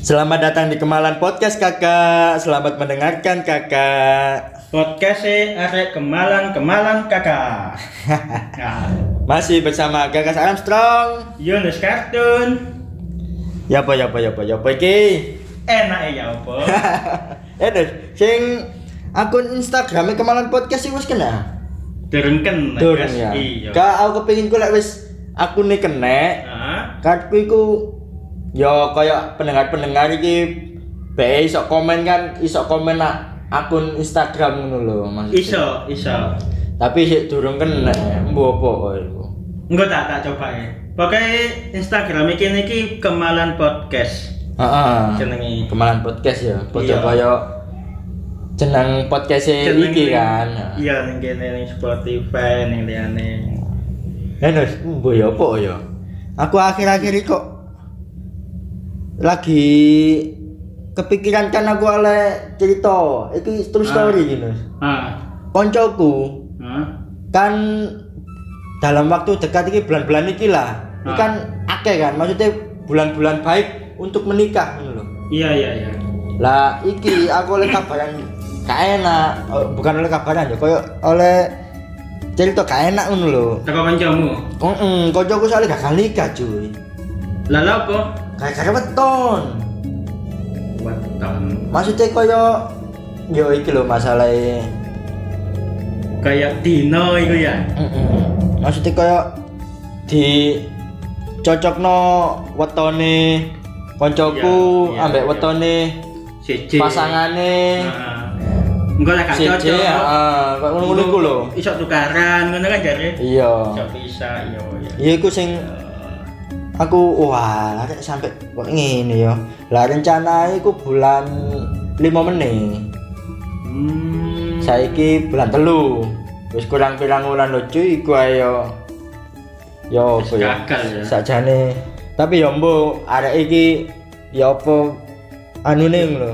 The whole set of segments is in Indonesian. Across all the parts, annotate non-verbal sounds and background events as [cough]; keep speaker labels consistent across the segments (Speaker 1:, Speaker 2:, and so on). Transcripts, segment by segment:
Speaker 1: Selamat datang di Kemalan Podcast kakak Selamat mendengarkan kakak
Speaker 2: Podcast arek kemalang kemalang
Speaker 1: [laughs]
Speaker 2: kakak. Nah,
Speaker 1: Masih bersama kakak Armstrong
Speaker 2: Yunus kartun
Speaker 1: Ya apa ya apa ya apa ya apa iki
Speaker 2: enak ya apa?
Speaker 1: [laughs] Eh Dos, sing akun Instagramnya Kemalan Podcast sih wis kena
Speaker 2: Durung kena
Speaker 1: Dur
Speaker 2: Guys.
Speaker 1: ya
Speaker 2: Iya.
Speaker 1: Kak aku kepengin ku lek wis akunnya kena
Speaker 2: Heeh.
Speaker 1: Kartu iku Ya kayak pendengar-pendengar iki Be isok komen kan Isok komen nak akun Instagram ngono lho maksudnya.
Speaker 2: Iso, iso.
Speaker 1: Tapi sik durung kena Mbok apa kok iku
Speaker 2: Enggak tak tak coba ya. Pakai Instagram iki niki kemalan podcast
Speaker 1: Heeh.
Speaker 2: jenenge.
Speaker 1: Ah, Kemalan podcast ya. Bocah
Speaker 2: Iya.
Speaker 1: kaya jeneng podcast e iki kan.
Speaker 2: Iya ning kene ning Spotify ning liyane.
Speaker 1: Eh Nus, mbok ya apa ya? Aku akhir-akhir ini kok lagi kepikiran kan aku oleh cerita itu true
Speaker 2: Ah.
Speaker 1: story gitu Nus.
Speaker 2: Ah.
Speaker 1: Koncoku
Speaker 2: Hah?
Speaker 1: kan dalam waktu dekat ini bulan-bulan ini lah ini
Speaker 2: Ah.
Speaker 1: kan akeh kan maksudnya bulan-bulan baik untuk menikah gitu loh
Speaker 2: Iya, iya, iya.
Speaker 1: lah iki aku oleh kabaran gak enak Oh, bukan oleh kabaran ya koyo oleh cerita gak enak ngono lho
Speaker 2: Teko kancamu.
Speaker 1: heeh kancaku soalnya gagal nikah cuy
Speaker 2: Lah lha apa?
Speaker 1: gara-gara weton
Speaker 2: Weton.
Speaker 1: maksudnya koyo yo iki lho masalah e.
Speaker 2: Kayak Dino iku ya.
Speaker 1: heeh maksudnya koyo di cocokno wetone kancaku
Speaker 2: Iya, iya,
Speaker 1: ambek
Speaker 2: iya.
Speaker 1: wetone
Speaker 2: Siji.
Speaker 1: pasangane
Speaker 2: Enggak lah Nah, gak
Speaker 1: siji
Speaker 2: cocok.
Speaker 1: heeh koyo ya, ah, ngono iku lho
Speaker 2: Iso tukaran ngono kan jare.
Speaker 1: iya
Speaker 2: Iso bisa iya iya.
Speaker 1: ya iku sing aku wah lah rek sampai kok ngene yo lah rencana iku bulan 5 menit
Speaker 2: Hmm.
Speaker 1: saiki bulan telu wis kurang pirang wulan lho cuy iku ayo yo apa
Speaker 2: Wis
Speaker 1: yo
Speaker 2: gagal ya.
Speaker 1: sakjane tapi yo mbok arek iki yo apa anune lho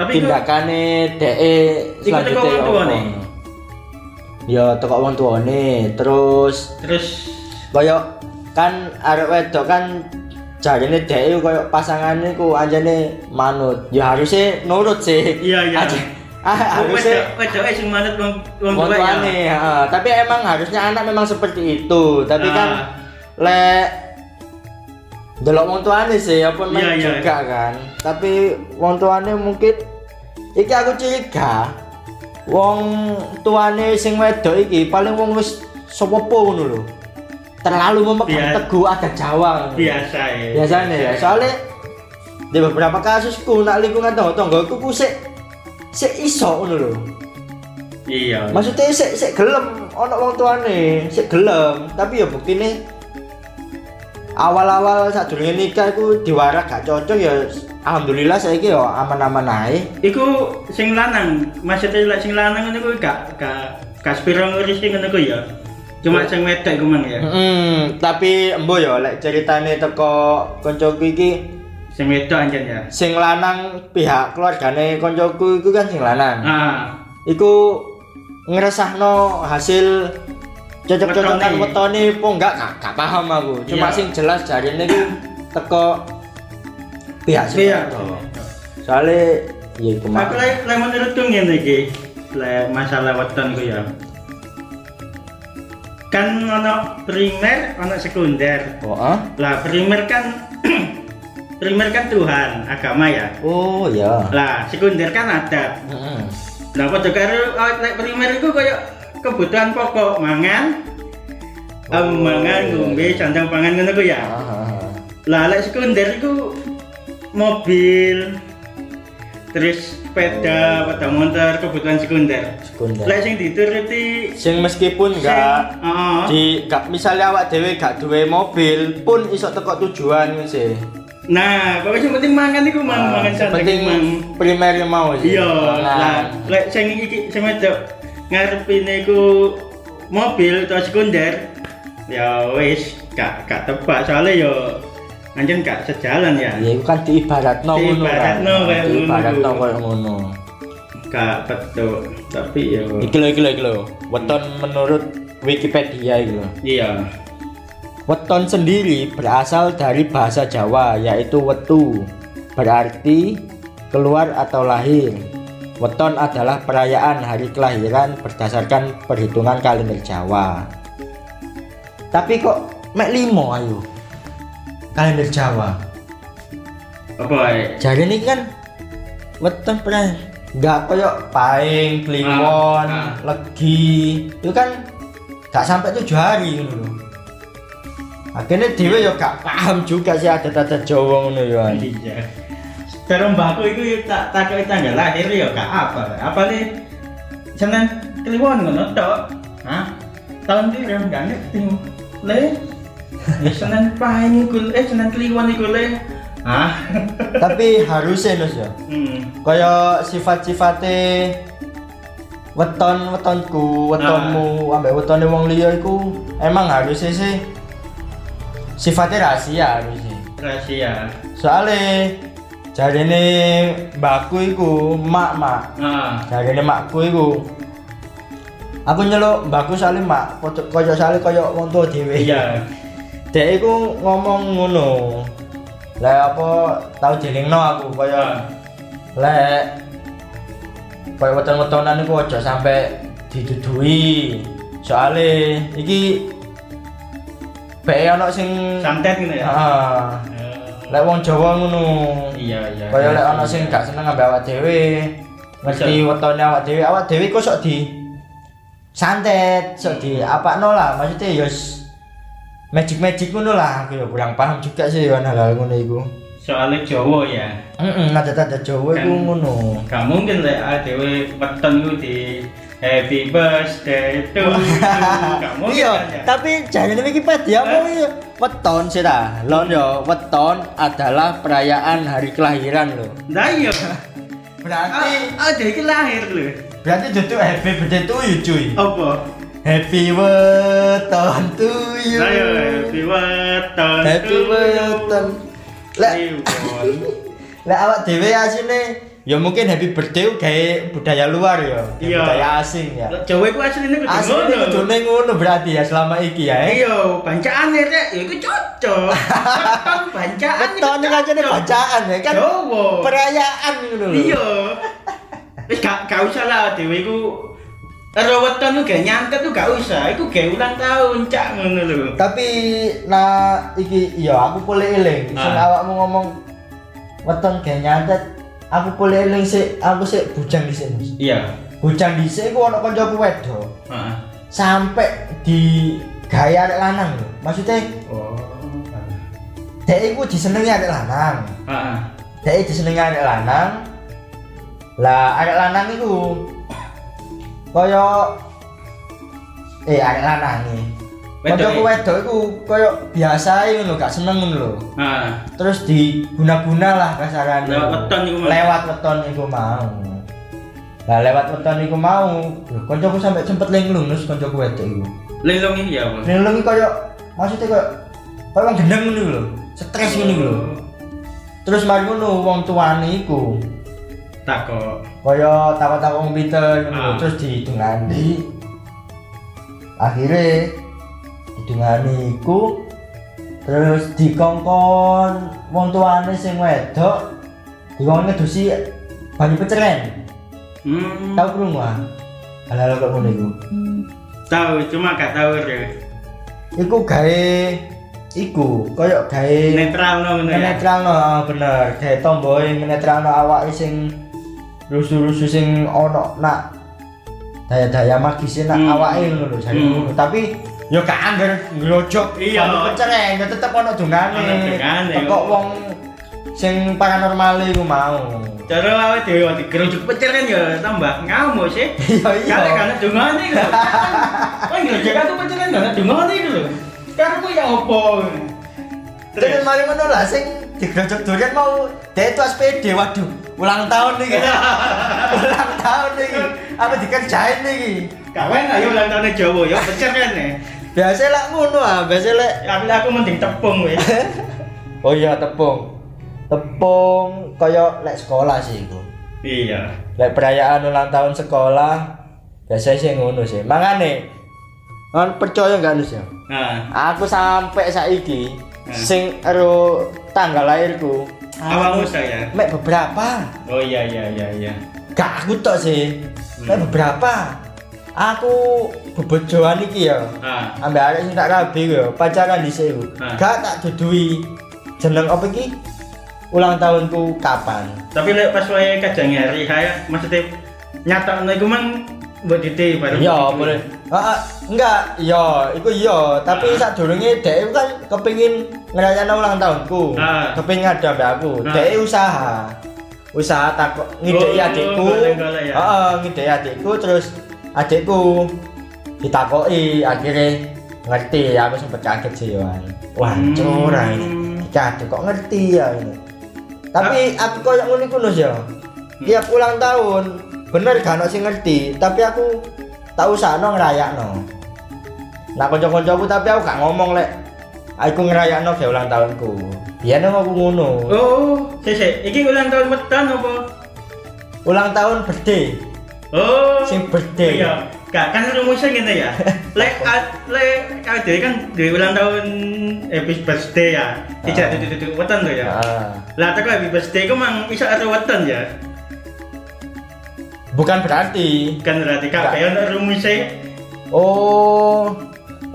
Speaker 2: Tapi iku
Speaker 1: tindakane dhek
Speaker 2: Iku teko
Speaker 1: selanjutnya
Speaker 2: wong
Speaker 1: yo apa
Speaker 2: tuwane?
Speaker 1: yo teko wong tuwane terus
Speaker 2: terus
Speaker 1: kaya kan arek wedok kan jarine dhek iku kaya pasangane ku anjane manut ya harusnya nurut sih
Speaker 2: Iya, iya.
Speaker 1: Aja- [laughs] ah,
Speaker 2: wis
Speaker 1: harusnya
Speaker 2: wis sing manut wong wong
Speaker 1: wong
Speaker 2: tua ya.
Speaker 1: tuane ha. tapi emang harusnya anak memang seperti itu tapi
Speaker 2: Ah.
Speaker 1: kan lek delok wong tuane sih apa
Speaker 2: Iya,
Speaker 1: men
Speaker 2: iya.
Speaker 1: juga kan tapi wong tuane mungkin iki aku curiga wong tuane sing wedok iki paling wong wis sopo-po ngono lho terlalu memegang
Speaker 2: Biar-
Speaker 1: teguh adat Jawa ngono.
Speaker 2: Biasa ya.
Speaker 1: biasanya ya soalnya di beberapa kasusku nak lingkungan tonggo tonggoku ku sik sik iso ngono lho
Speaker 2: Iya.
Speaker 1: maksudnya sik sik gelem ana wong tuane sik gelem tapi ya buktine awal-awal sadurunge nikah iku diwarak gak cocok ya alhamdulillah saiki ya aman-aman ae
Speaker 2: Iku sing lanang, maksudnya lek sing lanang ngono kuwi gak gak gak sepiro ngurusi ngono kuwi ya. Cuma sing wedok iku mang ya.
Speaker 1: Hmm, tapi embo ya lek ceritane teko koncoku iki
Speaker 2: Sing wedok anjen ya.
Speaker 1: sing lanang pihak keluargane koncoku iku kan sing lanang.
Speaker 2: Ah,
Speaker 1: Iku ngeresahno hasil cocok-cocokan wetone
Speaker 2: Wetone.
Speaker 1: apa enggak gak, gak paham aku. Cuma
Speaker 2: Iya.
Speaker 1: sing jelas jarine iku teko pihak sing
Speaker 2: iya.
Speaker 1: wedok. Soale ya iku
Speaker 2: Aku
Speaker 1: mah.
Speaker 2: lek lek menurutku ngene iki. Lek masalah weton ku ya. Kan ono primer, ono sekunder.
Speaker 1: Oh, ah?
Speaker 2: Lah primer kan [clears throat] primer kan Tuhan, agama ya.
Speaker 1: oh ya.
Speaker 2: Lah sekunder kan adat.
Speaker 1: Heeh.
Speaker 2: Lah padha karo oh, lek primer iku koyo kebutuhan pokok mangan,
Speaker 1: Oh,
Speaker 2: em, mangan,
Speaker 1: iya.
Speaker 2: ngombe, sandang pangan ngono ku ya.
Speaker 1: Ah, ah, ah.
Speaker 2: Lah lek sekunder iku mobil terus sepeda,
Speaker 1: Oh.
Speaker 2: sepeda motor kebutuhan sekunder.
Speaker 1: Sekunder.
Speaker 2: Lek sing dituruti
Speaker 1: Sing meskipun enggak
Speaker 2: sing- Heeh.
Speaker 1: di gak misalnya awak dhewe gak duwe mobil pun iso teko tujuan sih.
Speaker 2: Nah, pokoknya sing penting mangan iku mang
Speaker 1: Ah,
Speaker 2: mangan sandang
Speaker 1: penting
Speaker 2: mang.
Speaker 1: primer mau sih.
Speaker 2: Iya. Lah
Speaker 1: Nah,
Speaker 2: lek sing iki sing wedok ngarepine iku mobil atau sekunder ya wis gak gak tepat soalnya yo anjen gak sejalan ya.
Speaker 1: ya iku kan diibaratno ngono kan.
Speaker 2: Diibaratno kayak ngono.
Speaker 1: Diibaratno koyo ngono.
Speaker 2: Gak betul. Tapi yo
Speaker 1: Iki lho iki lho iki lho. Weton menurut Wikipedia iki lho.
Speaker 2: iya.
Speaker 1: Weton sendiri berasal dari bahasa Jawa yaitu wetu berarti keluar atau lahir. Weton adalah perayaan hari kelahiran berdasarkan perhitungan kalender Jawa. Tapi kok mek limo ayo. Kalender Jawa.
Speaker 2: apa eh?
Speaker 1: Jare ini kan weton pernah nggak koyok paing, kliwon,
Speaker 2: Ah, ah.
Speaker 1: legi. Itu kan nggak sampai tujuh hari gitu loh. Akhirnya dewe yo gak paham juga sih adat-adat Jawa ngono yo. [laughs] An.
Speaker 2: iya Terus mbakku itu ya tak takoki tanggal lahir ya gak apa apa nih seneng kliwon ngono tok Hah? tahun biru gak ngerti le ya seneng paing iku eh seneng kliwon iku le Hah? [laughs]
Speaker 1: Tapi harusnya Nus ya.
Speaker 2: hmm.
Speaker 1: kaya sifat-sifate weton wetonku
Speaker 2: Ah.
Speaker 1: wetonmu ambek wetone wong liya iku emang harusnya sih sifatnya rahasia harusnya
Speaker 2: rahasia
Speaker 1: soalnya jarene mbakku iku mak mak
Speaker 2: ah
Speaker 1: jarene makku iku aku nyeluk mbakku soalnya mak koyo- koyo soalnya koyo wong tua dhewe
Speaker 2: iya
Speaker 1: Dek iku ngomong ngono lah apa tau jelingno aku kaya
Speaker 2: Ah.
Speaker 1: lek koyo weton-wetonan iku aja sampe didudui soale iki bae ana sing
Speaker 2: santet gitu ya
Speaker 1: ah lek wong Jawa ngono
Speaker 2: iya iya Iya.
Speaker 1: kaya lek ana sing gak seneng ambek awak dhewe ngerti wetone awak dhewe awak dhewe kok sok di santet sok di apakno lah maksudnya yos magic magic ngono lah aku ya kurang paham juga sih yo hal ngono iku
Speaker 2: soalnya Jawa ya
Speaker 1: heeh ada-ada Jawa iku
Speaker 2: Kan-
Speaker 1: ngono
Speaker 2: gak mungkin lek adewe weton itu di happy birthday to you
Speaker 1: [laughs]
Speaker 2: gak mungkin
Speaker 1: iya,
Speaker 2: kan, ya?
Speaker 1: tapi jangan Wikipedia mau iya. weton sih ta. Lon yo, weton adalah perayaan hari kelahiran lo.
Speaker 2: Lah iya.
Speaker 1: Berarti
Speaker 2: Ah, ada iki lahir lho.
Speaker 1: berarti itu happy birthday to you cuy.
Speaker 2: Apa?
Speaker 1: Happy weton to you.
Speaker 2: Lah iya happy weton.
Speaker 1: Happy weton. Lek lek awak dhewe asine ya mungkin happy birthday kayak budaya luar ya, kayak
Speaker 2: Iya.
Speaker 1: budaya asing ya.
Speaker 2: Jawa iku asline kudu
Speaker 1: Asli itu
Speaker 2: ngono.
Speaker 1: kudune ngono berarti ya selama iki ya. eh.
Speaker 2: Iya, bancaan ya, Cek. Ya iku cocok. Weton bancaan. iku
Speaker 1: Weton iki ajane
Speaker 2: cocok.
Speaker 1: bacaan ya kan.
Speaker 2: Jawa.
Speaker 1: Perayaan ngono lho.
Speaker 2: Iya. Wis gak gak usah lah dhewe iku Karo weton tuh gak nyantet tuh gak usah, itu gak ulang tahun, cak ngono lho.
Speaker 1: tapi nah iki iya aku boleh eling sing
Speaker 2: Ah.
Speaker 1: awakmu ngomong weton gak nyantet aku boleh eling sik aku sik bujang dhisik Mas
Speaker 2: Iya.
Speaker 1: bujang dhisik iku ana kancaku wedok
Speaker 2: Heeh.
Speaker 1: sampai di gaya arek lanang lho maksudnya
Speaker 2: Oh.
Speaker 1: dhek iku disenengi arek lanang
Speaker 2: Heeh.
Speaker 1: dhek disenengi arek lanang lah arek lanang iku kaya eh arek lanang iki
Speaker 2: Wedok
Speaker 1: kancaku
Speaker 2: iki?
Speaker 1: wedok iku kaya biasa e ngono gak seneng ngono lho
Speaker 2: Heeh.
Speaker 1: terus diguna-guna lah kasarannya
Speaker 2: Lewat weton iku mau.
Speaker 1: lewat weton iku mau nah lewat weton iku mau Loh, koncoku sampe sempet linglung terus koncoku wedok iku
Speaker 2: Lelong iki ya, Bos.
Speaker 1: linglung iki koyo maksudnya koyo koyo wong gendeng ngono lho stres ngono lho terus mari ngono wong tuane iku
Speaker 2: Tak kok.
Speaker 1: koyo takon-takon wong pinter ngono lho.
Speaker 2: Ah.
Speaker 1: terus didungani akhirnya didungani iku terus dikongkon wong tuane sing wedok dikongkon ngedusi banyu peceren
Speaker 2: Hmm.
Speaker 1: tau krungu ah halal kok ngono iku
Speaker 2: Tahu, cuma gak tahu ya.
Speaker 1: iku gawe iku koyo gawe
Speaker 2: Netral no bener ya.
Speaker 1: menetralno ah, bener gawe tomboe menetralno awake sing rusuh-rusuh sing ono nak daya-daya magis nak
Speaker 2: Hmm.
Speaker 1: awake ngono lho jane
Speaker 2: Hmm.
Speaker 1: ngono. tapi ya gak anggar ngrojok
Speaker 2: Iya.
Speaker 1: pecereng ya tetep ono
Speaker 2: Ono oh.
Speaker 1: dungane
Speaker 2: dungane.
Speaker 1: teko wong sing paranormal iku mau
Speaker 2: Cara lawe dhewe di gerujuk pecel kan ya tambah ngamuk sih.
Speaker 1: [laughs] iya iya
Speaker 2: Karena karena dungane iku. lho. Kan gerujuk aku pecel kan karena dungane iku lho. Karena aku ya opo.
Speaker 1: terus mari ngono lah sing digrojok durian mau dia itu SPD waduh ulang tahun nih [laughs] gitu ulang tahun nih apa dikerjain nih
Speaker 2: Kawan ayo ulang tahun Jawa ya pecel kan ya.
Speaker 1: biasa lah ngono ah biasa lah
Speaker 2: Tapi aku mending
Speaker 1: [laughs]
Speaker 2: tepung weh.
Speaker 1: oh iya tepung tepung kaya lek sekolah sih iku
Speaker 2: Iya.
Speaker 1: lek perayaan ulang tahun sekolah biasa sih ngono sih mangane kan percaya nggak nus ya
Speaker 2: Nah,
Speaker 1: aku sampai saiki
Speaker 2: Hmm.
Speaker 1: sing ero tanggal lahirku
Speaker 2: Awalmu saya.
Speaker 1: mek beberapa
Speaker 2: ya. Oh iya iya iya iya.
Speaker 1: gak aku tok sih mek
Speaker 2: Hmm.
Speaker 1: beberapa aku bebojoan iki ya
Speaker 2: Ah,
Speaker 1: ambek arek sing tak kabeh ya pacaran dhisik iku
Speaker 2: Ah.
Speaker 1: gak tak dudui jeneng apa iki ulang tahunku kapan
Speaker 2: tapi lek pas wae kajang hari saya maksudnya nyata iku mang buat dite bareng. gitu.
Speaker 1: iya boleh ah, ah, enggak iya iku iya tapi
Speaker 2: Ah.
Speaker 1: saat durunge dhek iku kan kepengin ngerayain ulang tahunku
Speaker 2: Ah.
Speaker 1: kepengin ada mbak aku
Speaker 2: Ah.
Speaker 1: dhek e usaha usaha takok ngidei
Speaker 2: Oh,
Speaker 1: adikku
Speaker 2: golek-golek ya.
Speaker 1: heeh ngidei adikku terus adikku ditakoki akhirnya ngerti aku sempet kaget sih Wan. wah
Speaker 2: Hmm.
Speaker 1: curah ini iki adek kok ngerti ya ini tapi aku koyo ngono iku Nus, ya tiap ulang tahun bener gak ono sing ngerti tapi aku tak usahno ngrayakno nah kanca-kancaku tapi aku gak ngomong lek aku ngrayakno ge ulang tahunku biyen aku ngono
Speaker 2: Oh, sese, iki ulang tahun weton apa?
Speaker 1: ulang tahun birthday
Speaker 2: Oh.
Speaker 1: Sing birthday.
Speaker 2: Iya. Gak kan rumusnya gitu
Speaker 1: [laughs]
Speaker 2: ya. Lek a- lek kalau dia kan di ulang tahun happy birthday ya.
Speaker 1: Ah.
Speaker 2: Tidak duduk duduk weton tuh ya.
Speaker 1: Ah.
Speaker 2: Lah teko happy birthday ku mang iso atau weton ya.
Speaker 1: bukan berarti
Speaker 2: Kan berarti kabeh ono rumusnya
Speaker 1: oh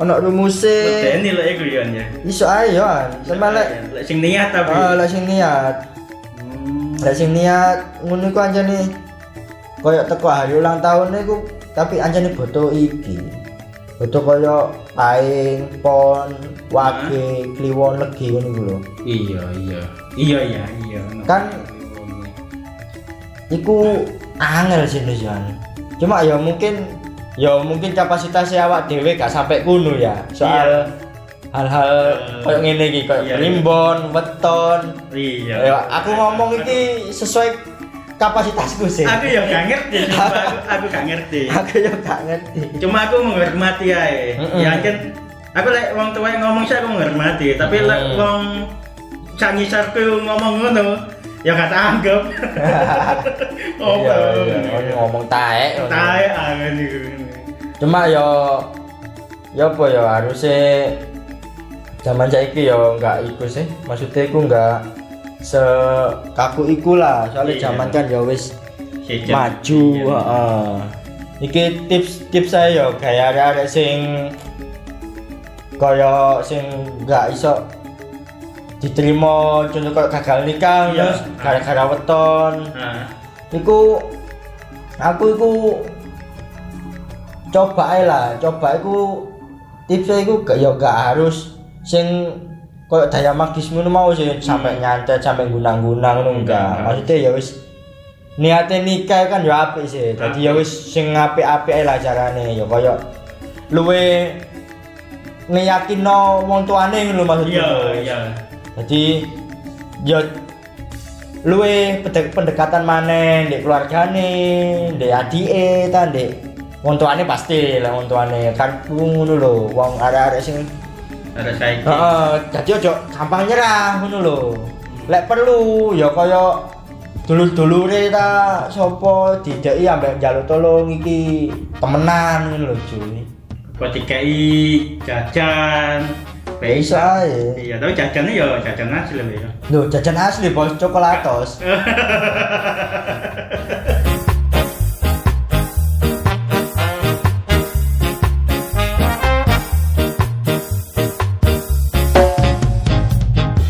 Speaker 1: ono rumuse
Speaker 2: wedeni lek iku ya. ya.
Speaker 1: iso ae yo sampe lek
Speaker 2: lek sing niat tapi.
Speaker 1: ah, lek sing niat
Speaker 2: Hmm.
Speaker 1: Lah sing niat ngono iku anjane koyo teko hari ulang tahun iku tapi anjane boto iki. Boto koyo paing, pon,
Speaker 2: Hmm.
Speaker 1: wage, kliwon, legi ngono iku lho.
Speaker 2: Iya iya. Iya iya iya.
Speaker 1: Kan- Iku angel sih Nus, Jan. Cuma ya mungkin ya mungkin kapasitasnya awak dhewe gak sampai kuno ya. Soal hal-hal
Speaker 2: Eh,
Speaker 1: koyo ngene iki koyo
Speaker 2: iya, iya.
Speaker 1: limbon, weton.
Speaker 2: Iya.
Speaker 1: Ya aku ngomong iki sesuai kapasitasku sih.
Speaker 2: aku ya gak ngerti sumpah. aku, aku gak
Speaker 1: [laughs]
Speaker 2: ngerti
Speaker 1: Aku yo gak ngerti.
Speaker 2: cuma aku menghormati ae
Speaker 1: Mm-mm.
Speaker 2: ya kan aku lek wong tua yang ngomong sih aku menghormati tapi lek
Speaker 1: Mm.
Speaker 2: wong sangisarku ngomong ngono ya gak
Speaker 1: [laughs]
Speaker 2: tanggap oh
Speaker 1: iya iya Ono ngomong taek ono.
Speaker 2: tae aku niku
Speaker 1: cuma yo yo apa yo harusnya zaman saiki yo nggak iku sih maksudnya iku nggak sekaku iku lah soalnya
Speaker 2: Iya.
Speaker 1: zaman kan ya wis
Speaker 2: Sejen.
Speaker 1: maju
Speaker 2: Sejen.
Speaker 1: heeh. iki tips tips saya yo kayak ada sing kaya sing nggak iso diterima contoh kaya gagal nikah
Speaker 2: Iya.
Speaker 1: terus gara-gara weton
Speaker 2: Ah,
Speaker 1: iku aku iku coba ae lah coba iku tipsnya iku gak ya gak harus sing koyo daya magis ngono mau
Speaker 2: Hmm.
Speaker 1: sih sampai nyantet sampai gunang-gunang ngono enggak
Speaker 2: Enggak.
Speaker 1: maksudnya ya wis niatnya nikah kan ya apik sih
Speaker 2: Hmm.
Speaker 1: jadi ya wis sing apik-apik ae lah carane ya koyo luwe ngeyakino wong tuane ngono maksudnya
Speaker 2: iya iya
Speaker 1: jadi yo luwe pede- pendekatan maneh ndek keluargane ndek adike ta ndek wong tuane pasti lah wong tuane kan ku ngono lho wong arek-arek sing
Speaker 2: ada saiki
Speaker 1: heeh dadi ojo gampang nyerah ngono lho lek perlu ya kaya dulur-dulure ta sapa dideki ambek njaluk tolong iki temenan ngono lho cuy
Speaker 2: kok dikai jajan
Speaker 1: bisa ae
Speaker 2: iya tapi jajannya ya jajan asli ya
Speaker 1: lho jajan asli bos coklatos